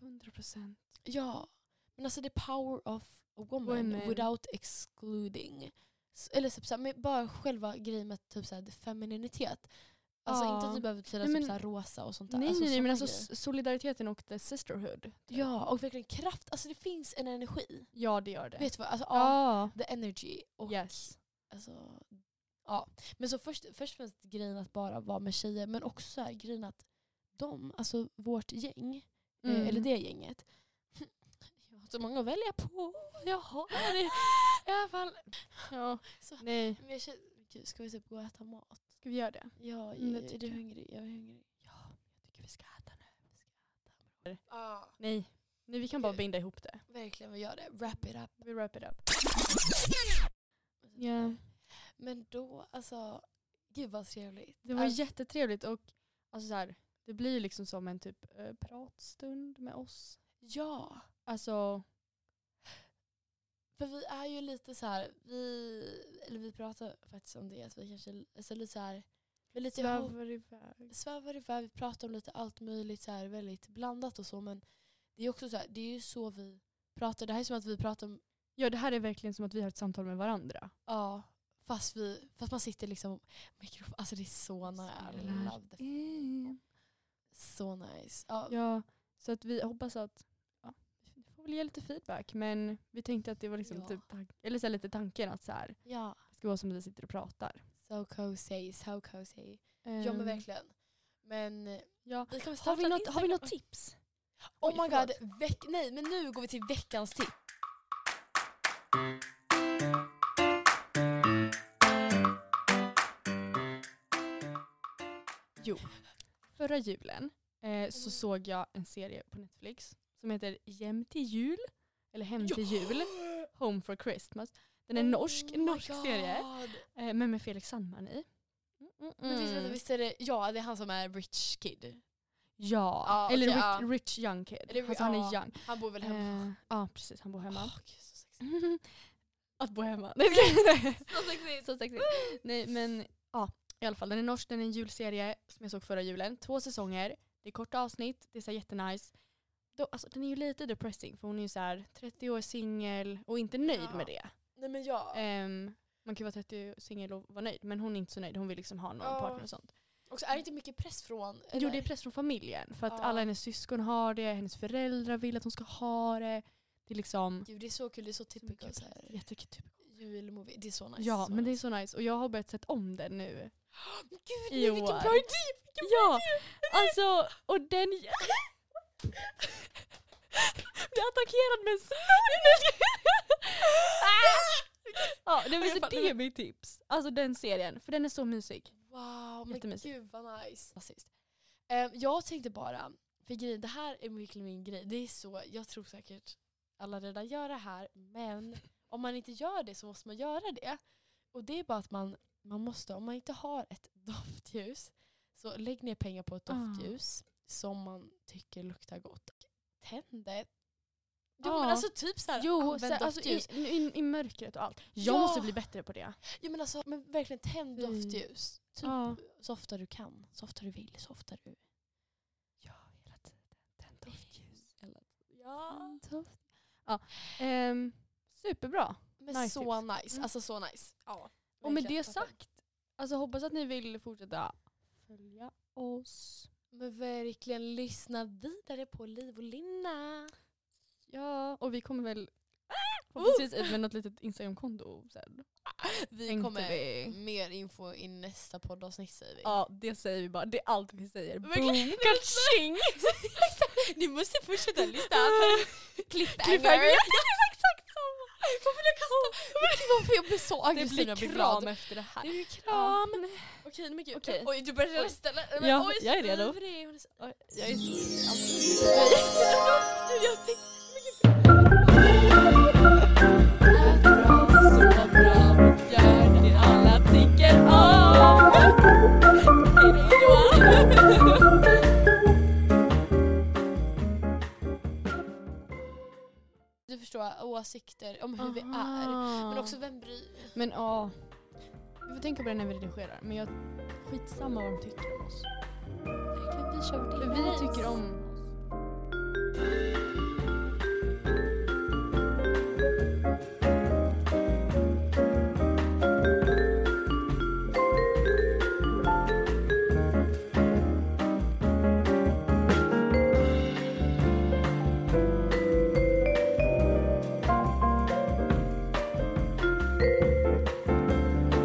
[SPEAKER 1] 100 procent.
[SPEAKER 2] Ja, men alltså the power of a woman
[SPEAKER 1] Women.
[SPEAKER 2] without excluding. S- Eller typ såhär, men bara själva grejen med typ såhär, femininitet. Alltså
[SPEAKER 1] Ja.
[SPEAKER 2] inte att du behöver betyda
[SPEAKER 1] Nej,
[SPEAKER 2] typ
[SPEAKER 1] men-
[SPEAKER 2] såhär, rosa och sånt där.
[SPEAKER 1] Nej, nej, nej
[SPEAKER 2] såna
[SPEAKER 1] men alltså
[SPEAKER 2] grejer.
[SPEAKER 1] s- solidariteten och the sisterhood.
[SPEAKER 2] Ja, och verkligen kraft. Alltså det finns en energi.
[SPEAKER 1] Ja, det gör det.
[SPEAKER 2] Vet du vad? Alltså, ja.
[SPEAKER 1] ja.
[SPEAKER 2] The energy. Och,
[SPEAKER 1] Yes.
[SPEAKER 2] alltså, ja. Men så först, först och främst grejen att bara vara med tjejer men också så här, grejen att de, alltså vårt gäng, Eh,
[SPEAKER 1] Mm.
[SPEAKER 2] Eller det gänget. Jag har så många att välja på. Jag har det. I alla fall.
[SPEAKER 1] Ja.
[SPEAKER 2] Så-
[SPEAKER 1] Nej.
[SPEAKER 2] Men jag känner, gud, ska vi typ gå och äta mat?
[SPEAKER 1] Ska vi göra det?
[SPEAKER 2] Ja,
[SPEAKER 1] Mm, det
[SPEAKER 2] är, är
[SPEAKER 1] tycker
[SPEAKER 2] du
[SPEAKER 1] jag.
[SPEAKER 2] hungrig? Jag är hungrig. Ja, jag tycker vi ska äta nu. Vi ska äta.
[SPEAKER 1] Eller?
[SPEAKER 2] Ja,
[SPEAKER 1] Nej. Nej, vi kan bara
[SPEAKER 2] Gud.
[SPEAKER 1] binda ihop det.
[SPEAKER 2] verkligen. Vi gör det. Wrap it up.
[SPEAKER 1] Vi wrap it up.
[SPEAKER 2] Men då, alltså. Gud vad trevligt.
[SPEAKER 1] Det var
[SPEAKER 2] Alltså,
[SPEAKER 1] jättetrevligt och alltså, så här, det blir ju liksom som en typ eh, pratstund med oss.
[SPEAKER 2] ja.
[SPEAKER 1] Alltså,
[SPEAKER 2] För vi är ju lite så här, vi, eller vi pratar faktiskt om det, att vi kanske alltså lite så här, vi är lite ihop-
[SPEAKER 1] svävar iväg.
[SPEAKER 2] svävar iväg, vi pratar om lite allt möjligt så här, väldigt blandat och så men det är också så här, det är ju så vi pratar. Det här är som att vi pratar om,
[SPEAKER 1] Ja, det här är verkligen som att vi har ett samtal med varandra.
[SPEAKER 2] ja, fast, vi, fast man sitter liksom mikrofon, alltså det är så nära. I
[SPEAKER 1] Spelar
[SPEAKER 2] love the- Eh. Så nice. Ja,
[SPEAKER 1] Ja, så att vi hoppas att, ja, vi får väl ge lite feedback men vi tänkte att det var liksom
[SPEAKER 2] Ja.
[SPEAKER 1] typ, tank- eller så här, lite tanken att så här,
[SPEAKER 2] ja.
[SPEAKER 1] det ska vara som att vi sitter och pratar.
[SPEAKER 2] So cozy, so cozy. Ja men verkligen. Men eh,
[SPEAKER 1] Ja.
[SPEAKER 2] vi kan väl starta
[SPEAKER 1] Ehm. Har, vi
[SPEAKER 2] en
[SPEAKER 1] något, har vi
[SPEAKER 2] Instagram-
[SPEAKER 1] något tips?
[SPEAKER 2] Oh
[SPEAKER 1] Oj,
[SPEAKER 2] my god,
[SPEAKER 1] förlåt.
[SPEAKER 2] veck, nej men nu går vi till veckans tips.
[SPEAKER 1] Förra julen eh, så
[SPEAKER 2] Mm.
[SPEAKER 1] såg jag en serie på Netflix som heter Hem till jul. Eller Hem till jul. Home for Christmas. Den är norsk, en
[SPEAKER 2] Oh my
[SPEAKER 1] norsk serie.
[SPEAKER 2] God.
[SPEAKER 1] Eh, men med Felix Sandman i. Mm,
[SPEAKER 2] Men visst,
[SPEAKER 1] mm.
[SPEAKER 2] vänta, visst är det, ja det är han som är rich kid.
[SPEAKER 1] Ja,
[SPEAKER 2] Ja,
[SPEAKER 1] eller
[SPEAKER 2] okej,
[SPEAKER 1] rich, rich young
[SPEAKER 2] Eller
[SPEAKER 1] kid.
[SPEAKER 2] ri-
[SPEAKER 1] Alltså han är
[SPEAKER 2] ja.
[SPEAKER 1] young.
[SPEAKER 2] Han bor väl hemma.
[SPEAKER 1] Eh, ja precis, han bor hemma.
[SPEAKER 2] Åh, gud, så sexigt.
[SPEAKER 1] Att bo hemma. Nej, jag skojar.
[SPEAKER 2] Så sexigt.
[SPEAKER 1] så sexigt. Nej men ja, i alla fall den är norsk, den är en julserie som jag såg förra julen. Två säsonger, det är korta avsnitt, det är så här jättenice. Då, alltså, den är ju lite depressing för hon är ju så här 30 år singel och inte nöjd
[SPEAKER 2] Ja.
[SPEAKER 1] med det.
[SPEAKER 2] Nej men ja.
[SPEAKER 1] Ehm, man kan vara 30 och singel och vara nöjd men hon är inte så nöjd, hon vill liksom ha någon
[SPEAKER 2] Ja.
[SPEAKER 1] partner och sånt.
[SPEAKER 2] Och så är det inte mycket press från?
[SPEAKER 1] Jo det är press från familjen för att
[SPEAKER 2] Ja.
[SPEAKER 1] alla hennes syskon har det, hennes föräldrar vill att hon ska ha det. Det är liksom
[SPEAKER 2] Gud, det är så kul, det är så typical så här,
[SPEAKER 1] jättekul.
[SPEAKER 2] julmovie. Det är så nice.
[SPEAKER 1] Ja
[SPEAKER 2] så
[SPEAKER 1] men det är
[SPEAKER 2] nice.
[SPEAKER 1] så nice och jag har börjat sätta om den nu.
[SPEAKER 2] Gud
[SPEAKER 1] i
[SPEAKER 2] nej, vilken
[SPEAKER 1] år.
[SPEAKER 2] bra idé! vilken bra
[SPEAKER 1] Ja,
[SPEAKER 2] idé!
[SPEAKER 1] alltså och den... Blir attackerad med en svärd! ja, nej, men
[SPEAKER 2] Jag
[SPEAKER 1] så
[SPEAKER 2] fattar,
[SPEAKER 1] det är mitt tips. Alltså den serien, för den är så mysig.
[SPEAKER 2] Wow, men
[SPEAKER 1] Jättemysigt.
[SPEAKER 2] gud vad nice. Rasist. Ehm, jag tänkte bara, för grejen, det här är verkligen min grej. Det är så, jag tror säkert alla redan gör det här, men om man inte gör det så måste man göra det. Och det är bara att man, man måste, om man inte har ett doftljus så Så lägg ner pengar på ett
[SPEAKER 1] Ah.
[SPEAKER 2] doftljus som man tycker luktar gott. Tänd ett. Jo
[SPEAKER 1] Ja.
[SPEAKER 2] men alltså typ såhär,
[SPEAKER 1] Ah. Jo,
[SPEAKER 2] använd
[SPEAKER 1] så, alltså, i,
[SPEAKER 2] doftljus.
[SPEAKER 1] i, i mörkret och allt. Jag
[SPEAKER 2] Ja.
[SPEAKER 1] måste bli bättre på det.
[SPEAKER 2] Jo men alltså men verkligen tänd
[SPEAKER 1] Fy.
[SPEAKER 2] doftljus. Typ
[SPEAKER 1] Mm. Ja.
[SPEAKER 2] så ofta du kan, så ofta du vill, så ofta du...
[SPEAKER 1] Ja, hela tiden. Tänd
[SPEAKER 2] Eller, ja.
[SPEAKER 1] doft. Ja. ehm, superbra.
[SPEAKER 2] Men
[SPEAKER 1] Nice
[SPEAKER 2] så
[SPEAKER 1] tips.
[SPEAKER 2] nice,
[SPEAKER 1] Mm.
[SPEAKER 2] alltså så nice. Ja.
[SPEAKER 1] Och med
[SPEAKER 2] verkligen.
[SPEAKER 1] det sagt, alltså, hoppas att ni vill fortsätta följa oss.
[SPEAKER 2] Men verkligen lyssna vidare på Liv och Linna.
[SPEAKER 1] Ja, Ah! Oh! och vi kommer väl förhoppningsvis ut med något litet Instagramkonto sen.
[SPEAKER 2] Vi
[SPEAKER 1] Tänkte
[SPEAKER 2] kommer
[SPEAKER 1] vi.
[SPEAKER 2] mer info i nästa poddavsnitt säger vi.
[SPEAKER 1] Ja, det säger vi bara. Det är allt vi säger.
[SPEAKER 2] Verkligen.
[SPEAKER 1] Boom, kaching!
[SPEAKER 2] Ni måste fortsätta lyssna för cliffhanger.
[SPEAKER 1] Cliffhanger.
[SPEAKER 2] exakt samma. Varför vill jag kasta? Vet du varför jag blir så
[SPEAKER 1] Oh, Det
[SPEAKER 2] aggressiv när
[SPEAKER 1] blir
[SPEAKER 2] jag blir glad?
[SPEAKER 1] kram efter det här.
[SPEAKER 2] Det blir
[SPEAKER 1] Ja,
[SPEAKER 2] kram. Okej, men gud.
[SPEAKER 1] Okej.
[SPEAKER 2] Oj, du börjar redan ställa. Men
[SPEAKER 1] Ja,
[SPEAKER 2] oj,
[SPEAKER 1] jag är redo.
[SPEAKER 2] ivrig. Hon är så-
[SPEAKER 1] Oj,
[SPEAKER 2] Jag är så ivrig. Jag tänkte så mycket fel. Ät bra, sov bra, gör det alla tycker om. Hejdå. Du förstår åsikter om hur vi är. Men också vem bryr
[SPEAKER 1] Men ja, vi får tänka på det när vi redigerar. Men jag skitsamma vad de tycker om oss.
[SPEAKER 2] Verkligen, Vi kör vårt
[SPEAKER 1] För
[SPEAKER 2] egna
[SPEAKER 1] vi
[SPEAKER 2] race.
[SPEAKER 1] tycker om oss.